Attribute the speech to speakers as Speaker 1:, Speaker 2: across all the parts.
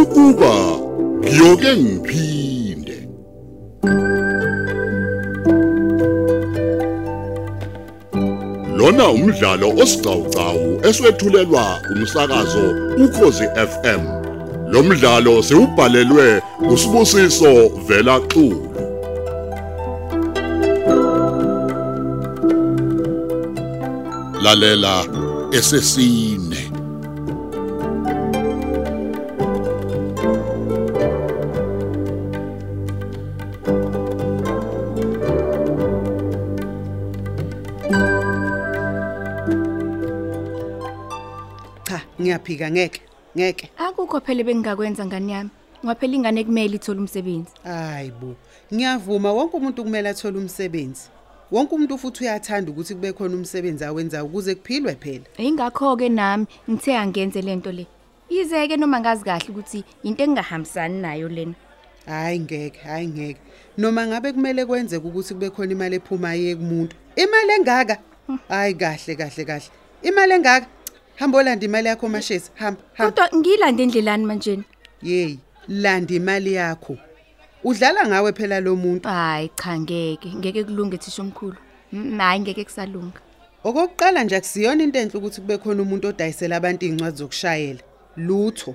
Speaker 1: ukuba ngiyoke ngiphinde lona umdlalo osiqhawqhawo eswethulelwa umsakazo ukhozi FM lo mdlalo siubhalelwe usibusiso vela xulu lalela esesine
Speaker 2: cha ngiyaphika ngeke ngeke
Speaker 3: akukho phela bengingakwenza ngani yami ngoba phela ingane kumele ithole umsebenzi
Speaker 2: hayi bo ngiyavuma wonke umuntu kumele athole umsebenzi wonke umuntu futhi uyathanda ukuthi kube khona umsebenzi awenzayo ukuze kuphilwe phela
Speaker 3: ingakho-ke nami ngithe angenze le nto le yize-ke noma ngazi kahle ukuthi yinto engingahambisani nayo lena
Speaker 2: hayi ngeke hayi ngeke noma ngabe kumele kwenzeke ukuthi kube khona imali ephumayo ekumuntu imali engaka hayi kahle kahle kahle imali engaka hamba olanda imali yakho mashezi hamba hamba
Speaker 3: kodwa ngiyilande endlelani manjeni
Speaker 2: yeyi landa imali yakho udlala ngawe phela lo muntu
Speaker 3: hayi cha ngeke ngeke kulunge thisha omkhulu Mm, hhayi ngeke kusalunga
Speaker 2: okokuqala nje akusiyona into enhle ukuthi kube khona umuntu odayisela abantu iy'ncwadi zokushayela lutho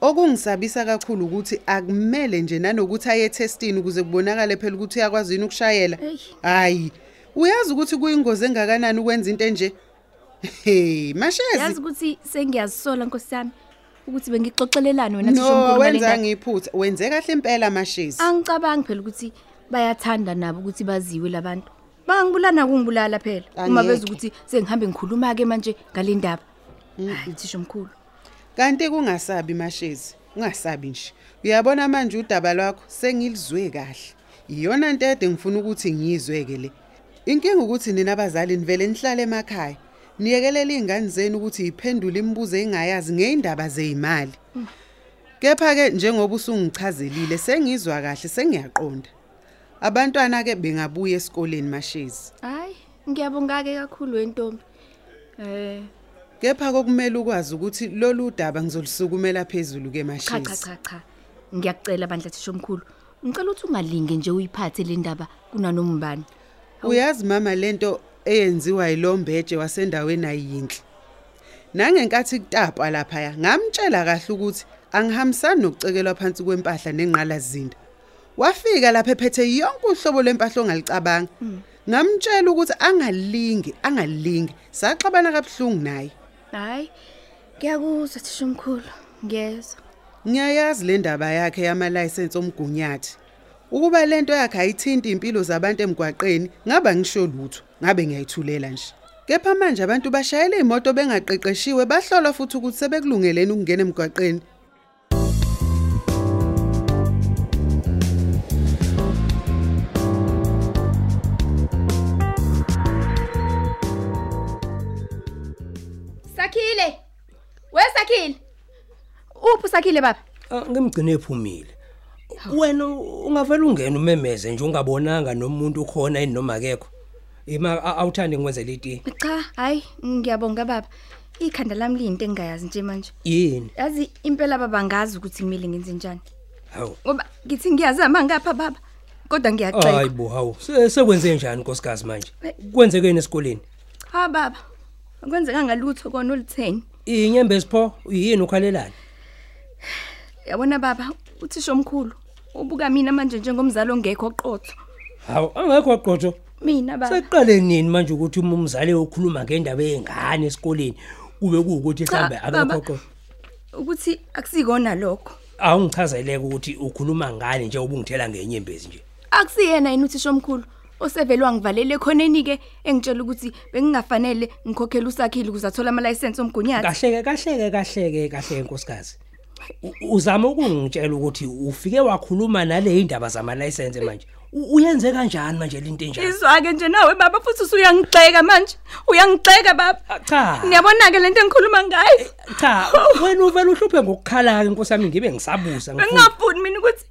Speaker 2: okungisabisa kakhulu ukuthi akumele nje nanokuthi aye ethestini ukuze kubonakale phela ukuthi uyakwazi yini ukushayela
Speaker 3: Eyi.
Speaker 2: hhayi uyazi ukuthi kuyingozi engakanani ukwenza into enje hey
Speaker 3: yazi
Speaker 2: mashezi
Speaker 3: ukuthi sengiyazisola nkosi yami ukuthi bengixoxelelani wena thisha
Speaker 2: no
Speaker 3: omkhulu ngale
Speaker 2: wenza
Speaker 3: ndaba.
Speaker 2: ngiyiphutha wenze kahle impela mashezi
Speaker 3: angicabangi phela ukuthi bayathanda nabo ukuthi baziwe labantu bangibulana kungibulala phela uma
Speaker 2: Angeke.
Speaker 3: beza ukuthi sengihambe ngikhuluma-ke manje ngale ndaba hayi thisha omkhulu
Speaker 2: kanti kungasabi mashezi ungasabi nje uyabona manje udaba lwakho sengilizwe kahle iyona nto ede ngifuna ukuthi ngiyizwe-ke le inkinga ukuthi nina abazali nivele nihlale emakhaya niyekelele iy'ngane zenu ukuthi yiphendule imibuzo engayazi ngey'ndaba zey'mali kepha-ke njengoba usungichazelile sengizwa kahle sengiyaqonda abantwana-ke bengabuya esikoleni mashezi
Speaker 3: hayi ngiyabonga-ke kakhulu wentombi um
Speaker 2: kepha kokumele ukwazi ukuthi lolu daba ngizolisukumela phezulu-ke
Speaker 3: cha cha
Speaker 2: mashezi
Speaker 3: cha cha ngiyakucela bandla thisha omkhulu ngicela ukuthi ungalinge nje uyiphathe le ndaba kunanoma ubani
Speaker 2: Oh. uyazi mama lento eyenziwa yilombeje wasendaweni ayinhle nangenkathi kutapa laphaya ngamtshela kahle ukuthi angihambisani nokucekelwa phansi kwempahla nenqalazinda wafika lapha ephethe yonke uhlobo lwempahla ongalicabanga ngamtshela ukuthi angalingi angalingi saxabana kabuhlungu naye
Speaker 3: hhayi ngiyakuzwa thisha omkhulu ngiyezwa
Speaker 2: ngiyayazi le ndaba yakhe yamalayisensi omgunyathi ukuba lento yakhe ayithinti impilo zabantu emgwaqeni ngaba ngisho lutho ngabe ngiyayithulela nje kepha manje abantu bashayela imoto bengaqeqeshiwe bahlolwa futhi ukuthi sebekulungeleni ukungena emgwaqeni
Speaker 3: sakhile we sakhile uphi usakhile baba
Speaker 4: Ah, ngimgcine ephumile wena ungavela ungena umemeze nje ungabonanga nomuntu ukhona yini noma akekho ima a- awuthandi ngikwenzela iti
Speaker 3: cha hhayi ngiyabonga baba ikhanda lami liyinto engingayazi nje manje
Speaker 4: yini
Speaker 3: yazi impela baba ngazi ukuthi kumele ngenze njani
Speaker 4: hawu
Speaker 3: ngoba ngithi ngiyazama ngapha baba kodwa
Speaker 4: hayi
Speaker 3: ngiyacela
Speaker 4: bo hawu Se- sekwenze njani nkosikazi manje kwenzekeni esikoleni
Speaker 3: ha baba akwenzekanga lutho kona olutheni
Speaker 4: inyembe esipho yini ukhalelani
Speaker 3: yabona baba uthisha omkhulu ubuka mina manje njengomzali ongekho qotho
Speaker 4: hawu angekho aqotho
Speaker 3: mina baba
Speaker 4: sekuqale nini manje ukuthi uma umzali ukhuluma ngendaba yengane esikoleni kube kuwukuthi
Speaker 3: Cha,
Speaker 4: mhlawumbe
Speaker 3: baba.
Speaker 4: akekho aqotho
Speaker 3: ukuthi akusikona lokho
Speaker 4: awungichazeleke ukuthi ukhuluma ngani nje ubungithela ngenyembezi nje
Speaker 3: akusiyena yini uthisha omkhulu osevelwa ngivalele ekhoneni-ke engitshela ukuthi bengingafanele ngikhokhele usakhile ukuze athole amalayisensi omgunyathi
Speaker 4: kahleke kahleke kahleke kahleke nkosikazi U- uzama ukungitshela ukuthi ufike wakhuluma nale indaba zamalayisense manje U- uyenze kanjani manje lento enjani
Speaker 3: izwa-ke nje nawe baba futhi usuyangixeka manje uyangixeka baba
Speaker 4: Ah, cha
Speaker 3: niyabona-ke le nto engikhuluma ngayo
Speaker 4: cha wena uvela uhluphe ngokukhala-ke nkosi yami ngibe ngisabuza ngifuna-
Speaker 3: bengingafuni mina ukuthi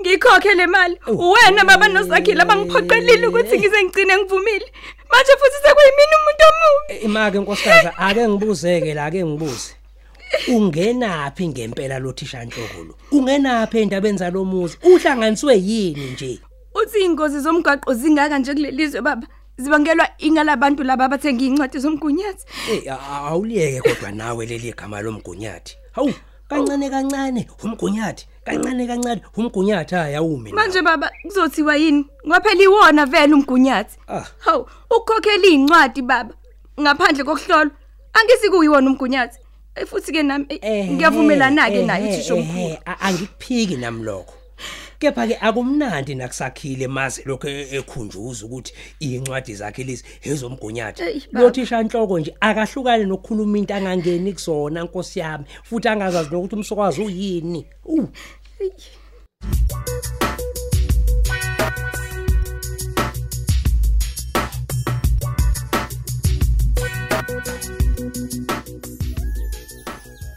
Speaker 3: ngiyikhokhe le mali
Speaker 4: eh, Oh.
Speaker 3: uwena baba nosakhile abangiphoqelile ukuthi ngize ngigcine ngivumile manje futhi sekuyimina umuntu omubi
Speaker 4: Eh, ima-ke nkosikazi ake ngibuzeke la ake ngibuze ungenaphi ngempela lo thisha Nhloko lo ungenaphi endabeni zalomuzi uhlanganiswe yini nje
Speaker 3: uthi ingozi zomgwaqo zingaka nje kulelizwe baba zibangelwa ingala abantu laba abathenga incwadi zomgunyathi
Speaker 4: Eh a- a- awuliyeke kodwa nawe leli igama lomgunyathi. Hawu kancane kancane umgunyathi, kancane kancane umgunyathi ayawumi.
Speaker 3: manje baba kuzothiwa yini ngaphela iwona vele umgunyathi
Speaker 4: Ah.
Speaker 3: hawu ukukhokhela incwadi baba ngaphandle kokuhlolwa angisikuyiwona umgunyathi Eh, futhi-ke nami eh, ngiyavumelana ke naye
Speaker 4: eh,
Speaker 3: uthisha omkhulu
Speaker 4: Angikuphiki nami lokho. Kepha ke akumnandi nakusakhile maze lokho e- ekhunjuza ukuthi incwadi zakhe lezi
Speaker 3: Eyi,
Speaker 4: ezomgunyathi.
Speaker 3: baba.
Speaker 4: Lo thisha Nhloko nje akahlukani nokukhuluma into angangeni kusona Nkosi yami futhi angazazi nokuthi umsokwazi uyini. Uh.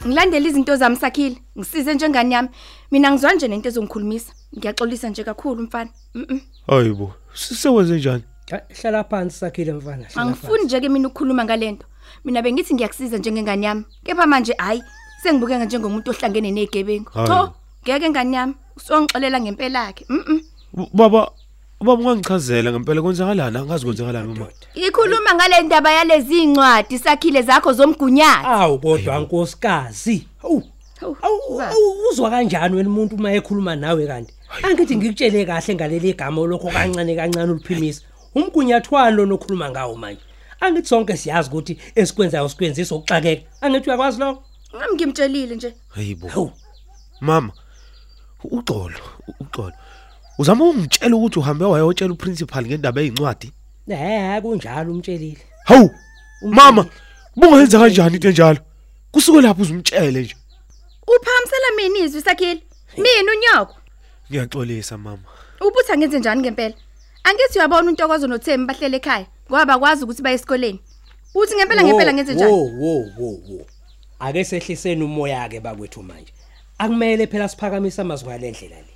Speaker 3: ngilandele izinto zami sakhile ngisize njengani yami mina ngizwa nje nento ezongikhulumisa ngiyaxolisa nje kakhulu mfana Mm, mm.
Speaker 5: Hayibo, sisewenze njani?
Speaker 4: Ah, Hlala phansi sakhile mfana. hlala
Speaker 3: angifuni nje ke mina ukukhuluma ngalento mina bengithi ngiyakusiza njengengane yami kepha manje hayi sengibukeka njengomuntu ohlangene nezigebengu
Speaker 5: Hayi.
Speaker 3: cho ngeke ngane yami usongixolela ngempela ke mhm
Speaker 5: B- Baba, baba ungangichazela ngempela kwenzakalani? Angazi kwenzakalani mama.
Speaker 3: ikhuluma ngale ndaba yalezi incwadi sakhile zakho zomgunyathi
Speaker 4: awu kodwa nkosikazi awu
Speaker 3: Hawu,
Speaker 4: awu
Speaker 3: baba.
Speaker 4: awu, uzwa kanjani wena umuntu uma ekhuluma nawe kanti angithi ngikutshele kahle ngaleli gama lokho kancane kancane uliphimisa umgunyathwano lo nokhuluma ngawo manje angithi sonke siyazi ukuthi esikwenzayo sikwenzisa ukuxakeka angithi uyakwazi lokho
Speaker 3: nami ngimtshelile nje
Speaker 5: Hayibo.
Speaker 4: hawu
Speaker 5: Mama, u- uxolo, u- uxolo. Uzama ungitshela ukuthi uhambe wayotshela uprincipal ngendaba ezincwadi?
Speaker 4: eh kunjalo umtshelile
Speaker 5: Hawu. Mama, bungenza kanjani into enjalo? Kusuke lapho uzumtshele nje.
Speaker 3: uphamisela mina izwi sakhile mina unyoko
Speaker 5: Ngiyaxolisa mama.
Speaker 3: ubuthi angenze njani ngempela angithi uyabona untokozo nothembi bahlele ekhaya ngoba bakwazi ukuthi baye esikoleni uthi ngempela ngempela ngenze njani
Speaker 4: Wo wo wo wo. Ake sehliseni umoya ke bakwethu manje. Akumele phela siphakamise amazwi alendlela le.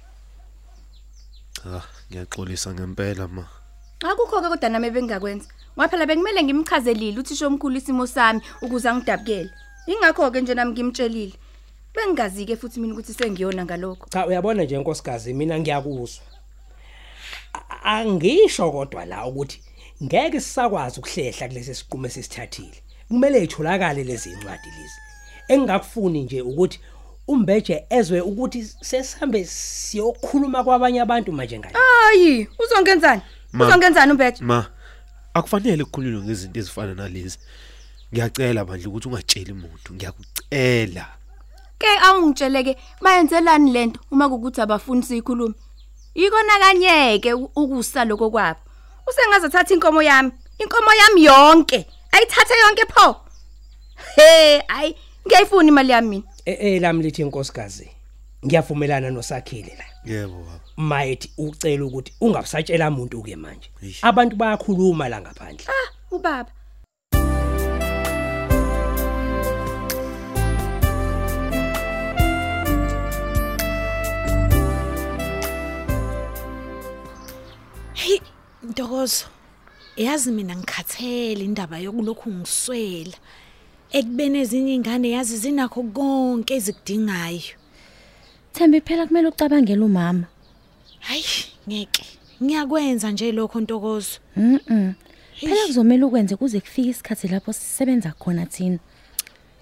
Speaker 5: Ah, ngiyaxolisa ngempela ma.
Speaker 3: Akukho-ke kodwa nami ebengingakwenza ngoba phela bekumele ngimchazelile uthisha omkhulu isimo sami ukuze angidabukele ingakho-ke nje nami ngimtshelile bengingazi-ke futhi mina ukuthi sengiyona ngalokho
Speaker 4: Cha uyabona nje nkosikazi mina ngiyakuzwa. A- Angisho kodwa la ukuthi ngeke sisakwazi ukuhlehla kulesi siqume sesithathile. Kumele itholakale lezi incwadi lezi. Engakufuni nje ukuthi umbeje ezwe ukuthi sesihambe siyokhuluma kwabanye abantu manje ngale.
Speaker 3: hayi uzongenzani
Speaker 5: Ma.
Speaker 3: uzongenzani umbetha
Speaker 5: Ma, akufanele ukukhululwa ngezinto ezifana nalezi. Ngiyacela bandla ukuthi ungatsheli umuntu. Ngiyakucela.
Speaker 3: ke awungitsheleke bayenzelani lento uma kukuthi abafuni siyikhulume yikona kanye-ke u- ukusa loko kwabo usengazathatha inkomo yami inkomo yami yonke ayithathe yonke pho he hayi ngiyayifuna imali yami mina
Speaker 4: Eh eh lami lithi inkosikazi. Ngiyavumelana nosakhile la.
Speaker 5: Yebo baba.
Speaker 4: mayethi ucela ukuthi ungabusatshela umuntu ke manje
Speaker 5: Eish.
Speaker 4: abantu bayakhuluma la ngaphandle
Speaker 3: ah ubaba
Speaker 6: Hey Ntokozo. Yazi mina ngikhathele indaba yokulokhu ngiswela. Ekubene ezinye ingane yazi zinakho konke ezikudingayo.
Speaker 7: Thembi phela kumele ucabangele umama.
Speaker 6: Hayi ngeke. Ngiyakwenza nje lokho Ntokozo.
Speaker 7: Mhm. Phela
Speaker 6: Eish.
Speaker 7: kuzomela ukwenze kuze kufike isikhathi lapho sisebenza khona thina.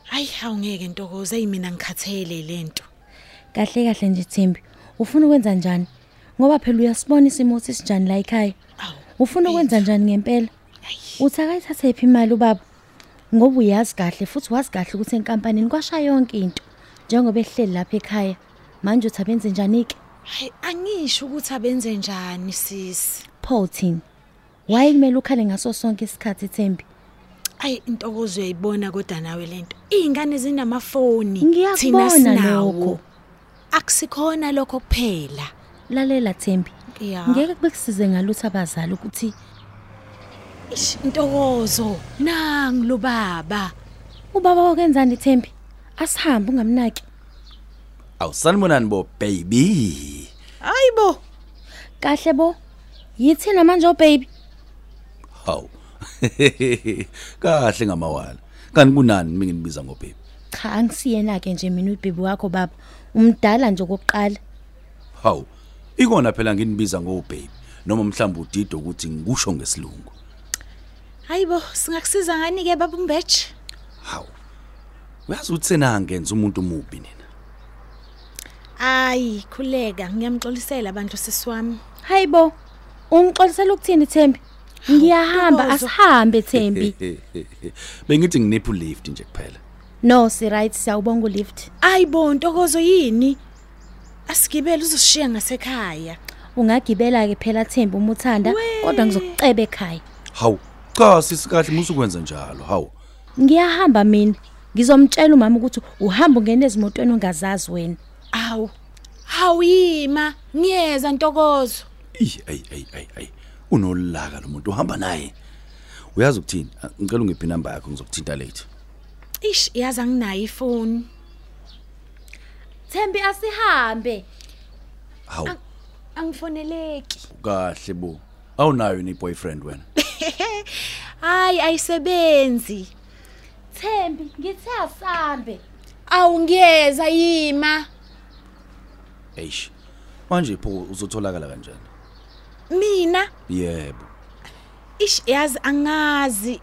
Speaker 6: Hayi awungeke Ntokozo, hey mina ngikhathele lento.
Speaker 7: Kahle kahle nje Thembi, ufuna ukwenza njani? Ngoba phela uyasibona isimo sisinjani la ekhaya.
Speaker 6: Awu.
Speaker 7: Ufuna ukwenza njani ngempela? Uthakayithatha iphi imali ubaba? Ngoba uyazi kahle futhi wazi kahle ukuthi enkampanini kwasha yonke into njengoba ehleli lapha ekhaya. Manje uthabenze njani ke?
Speaker 6: Hayi angisho ukuthi abenze njani sisi.
Speaker 7: Pho thini? Wayimele ukhale ngaso sonke isikhathi Thembi.
Speaker 6: Ayi Ntokozo uyayibona kodwa nawe lento. Izingane zinamafoni.
Speaker 7: Ngiyakubona lokho.
Speaker 6: Akusikhona lokho kuphela.
Speaker 7: Lalela Thembi.
Speaker 6: Yeah.
Speaker 7: Ngeke bekusize ngalutho abazali ukuthi
Speaker 6: Ish, Ntokozo, nangu lo baba.
Speaker 7: ubaba wakenzani Thembi? Asihambe ungamnaki.
Speaker 8: awusanibonani bo baby
Speaker 6: Hayibo.
Speaker 7: Kahle bo. Yithina manje o baby.
Speaker 8: hawu kahle ngamawala kanti kunani mina nginibiza ngobhebi
Speaker 7: cha angisiyena ke nje mina ubhebhi wakho baba umdala nje okokuqala
Speaker 8: Hawu. Ikona phela nginibiza ngobabhe noma mhlawumbe udido ukuthi ngikusho ngesilungu.
Speaker 6: hayibo singakusiza ngani ke baba umbeje
Speaker 8: Hawu. Uyazi ukuthi sena angenza umuntu mubi nina.
Speaker 6: ayi khuleka ngiyamxolisela abantu sisi wami
Speaker 7: hayibo ungixolisela ukuthini Thembi ngiyahamba
Speaker 6: Ntokozo.
Speaker 7: asihambe Thembi
Speaker 8: Bengithi nginiphu lift nje kuphela.
Speaker 7: no si right siyawubonga ulift
Speaker 6: ayi bo ntokozo yini asigibele uzosishiya ngasekhaya
Speaker 7: ungagibela ke phela Thembi uma uthanda kodwa ngizokuceba ekhaya
Speaker 8: Hawu. Cha sisikahle musukwenza njalo. Hawu.
Speaker 7: ngiyahamba mina ngizomtshela umama ukuthi uhamba ungena ezimotweni ongazazi wena
Speaker 6: awu hawu yima ngiyeza ntokozo
Speaker 8: Ey ey ey ey. Unolaka lo muntu uhamba naye. Uyazi ukuthini? Ah, Ngicela ungiphi inamba yakho ngizokuthinta late.
Speaker 6: ish yazi anginayo ifoni
Speaker 7: Thembi asihambe
Speaker 8: Hawu.
Speaker 6: angifoneleki
Speaker 8: Kahle bo. Awunayo ni boyfriend wena.
Speaker 6: hayi ayisebenzi
Speaker 7: Thembi ngithe asihambe
Speaker 6: awu ngiyeza yima
Speaker 8: Eish. Manje pho uzotholakala kanjani?
Speaker 6: mina
Speaker 8: Yebo.
Speaker 6: ish yazi angazi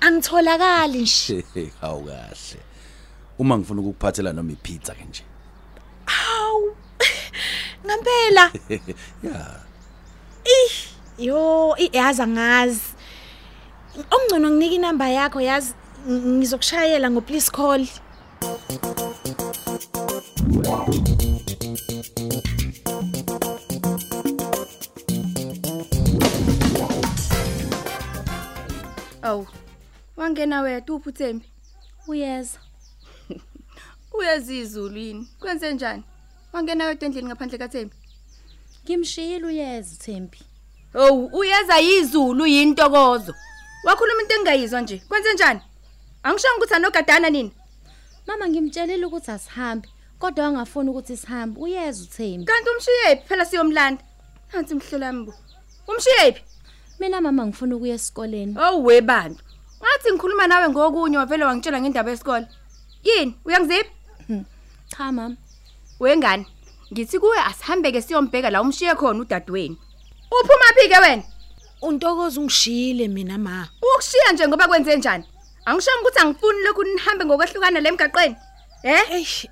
Speaker 6: angitholakali nje
Speaker 8: Hawu kahle. Uma ngifuna ukukuphathela noma ipizza ke nje.
Speaker 6: awu ngampela
Speaker 8: Yeah.
Speaker 6: yo i- yazi angazi ongcono nginika inamba yakho yazi ng- ngizokushayela ngo please call
Speaker 3: Awu. Wangena wethu uphi Thembi?
Speaker 7: uyeza
Speaker 3: Uyezizulu yini? Kwenze njani? Wangena wethu endlini ngaphandle kaThembi.
Speaker 7: ngimshiyile uyeza Thembi
Speaker 3: Hawu, uyeza yizulu yintokozo. Wakhuluma into engayizwa nje. Kwenze njani? Angishongo ukuthi anogadana nini?
Speaker 7: mama ngimtshelile ukuthi asihambe kodwa angafuni ukuthi sihambe uyeza uThembi
Speaker 3: Kanti umshiye phi phela siyomlanda? Nansi mhlolwambo. Umshiye phi?
Speaker 7: mina mama ngifuna ukuya esikoleni
Speaker 3: Oh webantu. Ngathi ngikhuluma nawe ngokunye wavele wangitshela ngendaba yesikole. Yini? Uyangiziphi?
Speaker 7: cha mama
Speaker 3: Wengane. Ngithi kuwe asihambeke siyombheka la umshiye khona udadweni. Uphuma phi ke wena?
Speaker 6: untokozo ungishile mina ma
Speaker 3: Ukushiya nje ngoba kwenze njani? Angishongo ukuthi angifuni lokhu nihambe ngokwehlukana lemgaqweni. Eh?
Speaker 6: eish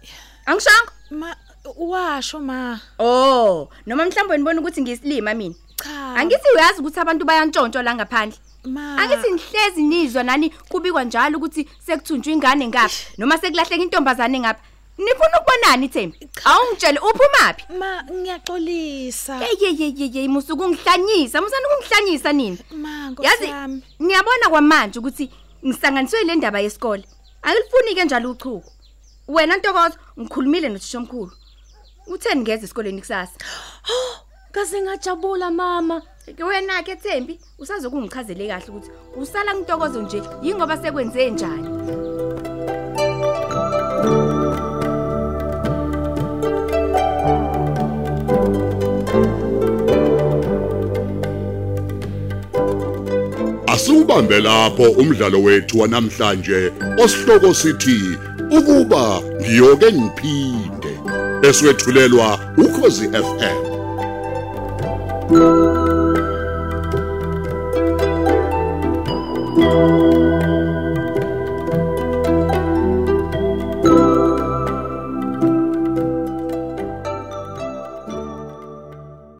Speaker 3: Angishongo?
Speaker 6: ma washo ma
Speaker 3: Oh, noma mhlawumbe nibona ukuthi ngiyisilima mina.
Speaker 6: cha
Speaker 3: Angithi uyazi ukuthi abantu bayantshontsho la ngaphandle.
Speaker 6: ma
Speaker 3: Angithi nihlezi nizwa nani kubikwa njalo ukuthi sekuthunjwa ingane ngapha noma sekulahleka intombazane ngapha. Nifuna ukubonani Thembi? Awungitshele uphumaphi?
Speaker 6: ma ngiyaxolisa
Speaker 3: Eyeyeyeye musuku ngihlanyisa, musana ukungihlanyisa nini?
Speaker 6: ma
Speaker 3: Yazi
Speaker 6: nkosami
Speaker 3: niyabona kwamanje ukuthi ngisanganiswe ile ndaba yesikole. Angilifuni ke njalo uchuku. Wena Ntokozo ngikhulumile noThishomkhulu. Utheni ngeze esikoleni kusasa?
Speaker 7: kaze ngajabula mama
Speaker 3: Ke Wena ke Thembi usazokungichazele kahle ukuthi usala ngintokozo nje yingoba sekwenze njani.
Speaker 1: Asubambe lapho umdlalo wethu wanamhlanje osihloko sithi ukuba ngiyoke ngiphinde eswetshulelwa ukhozi FM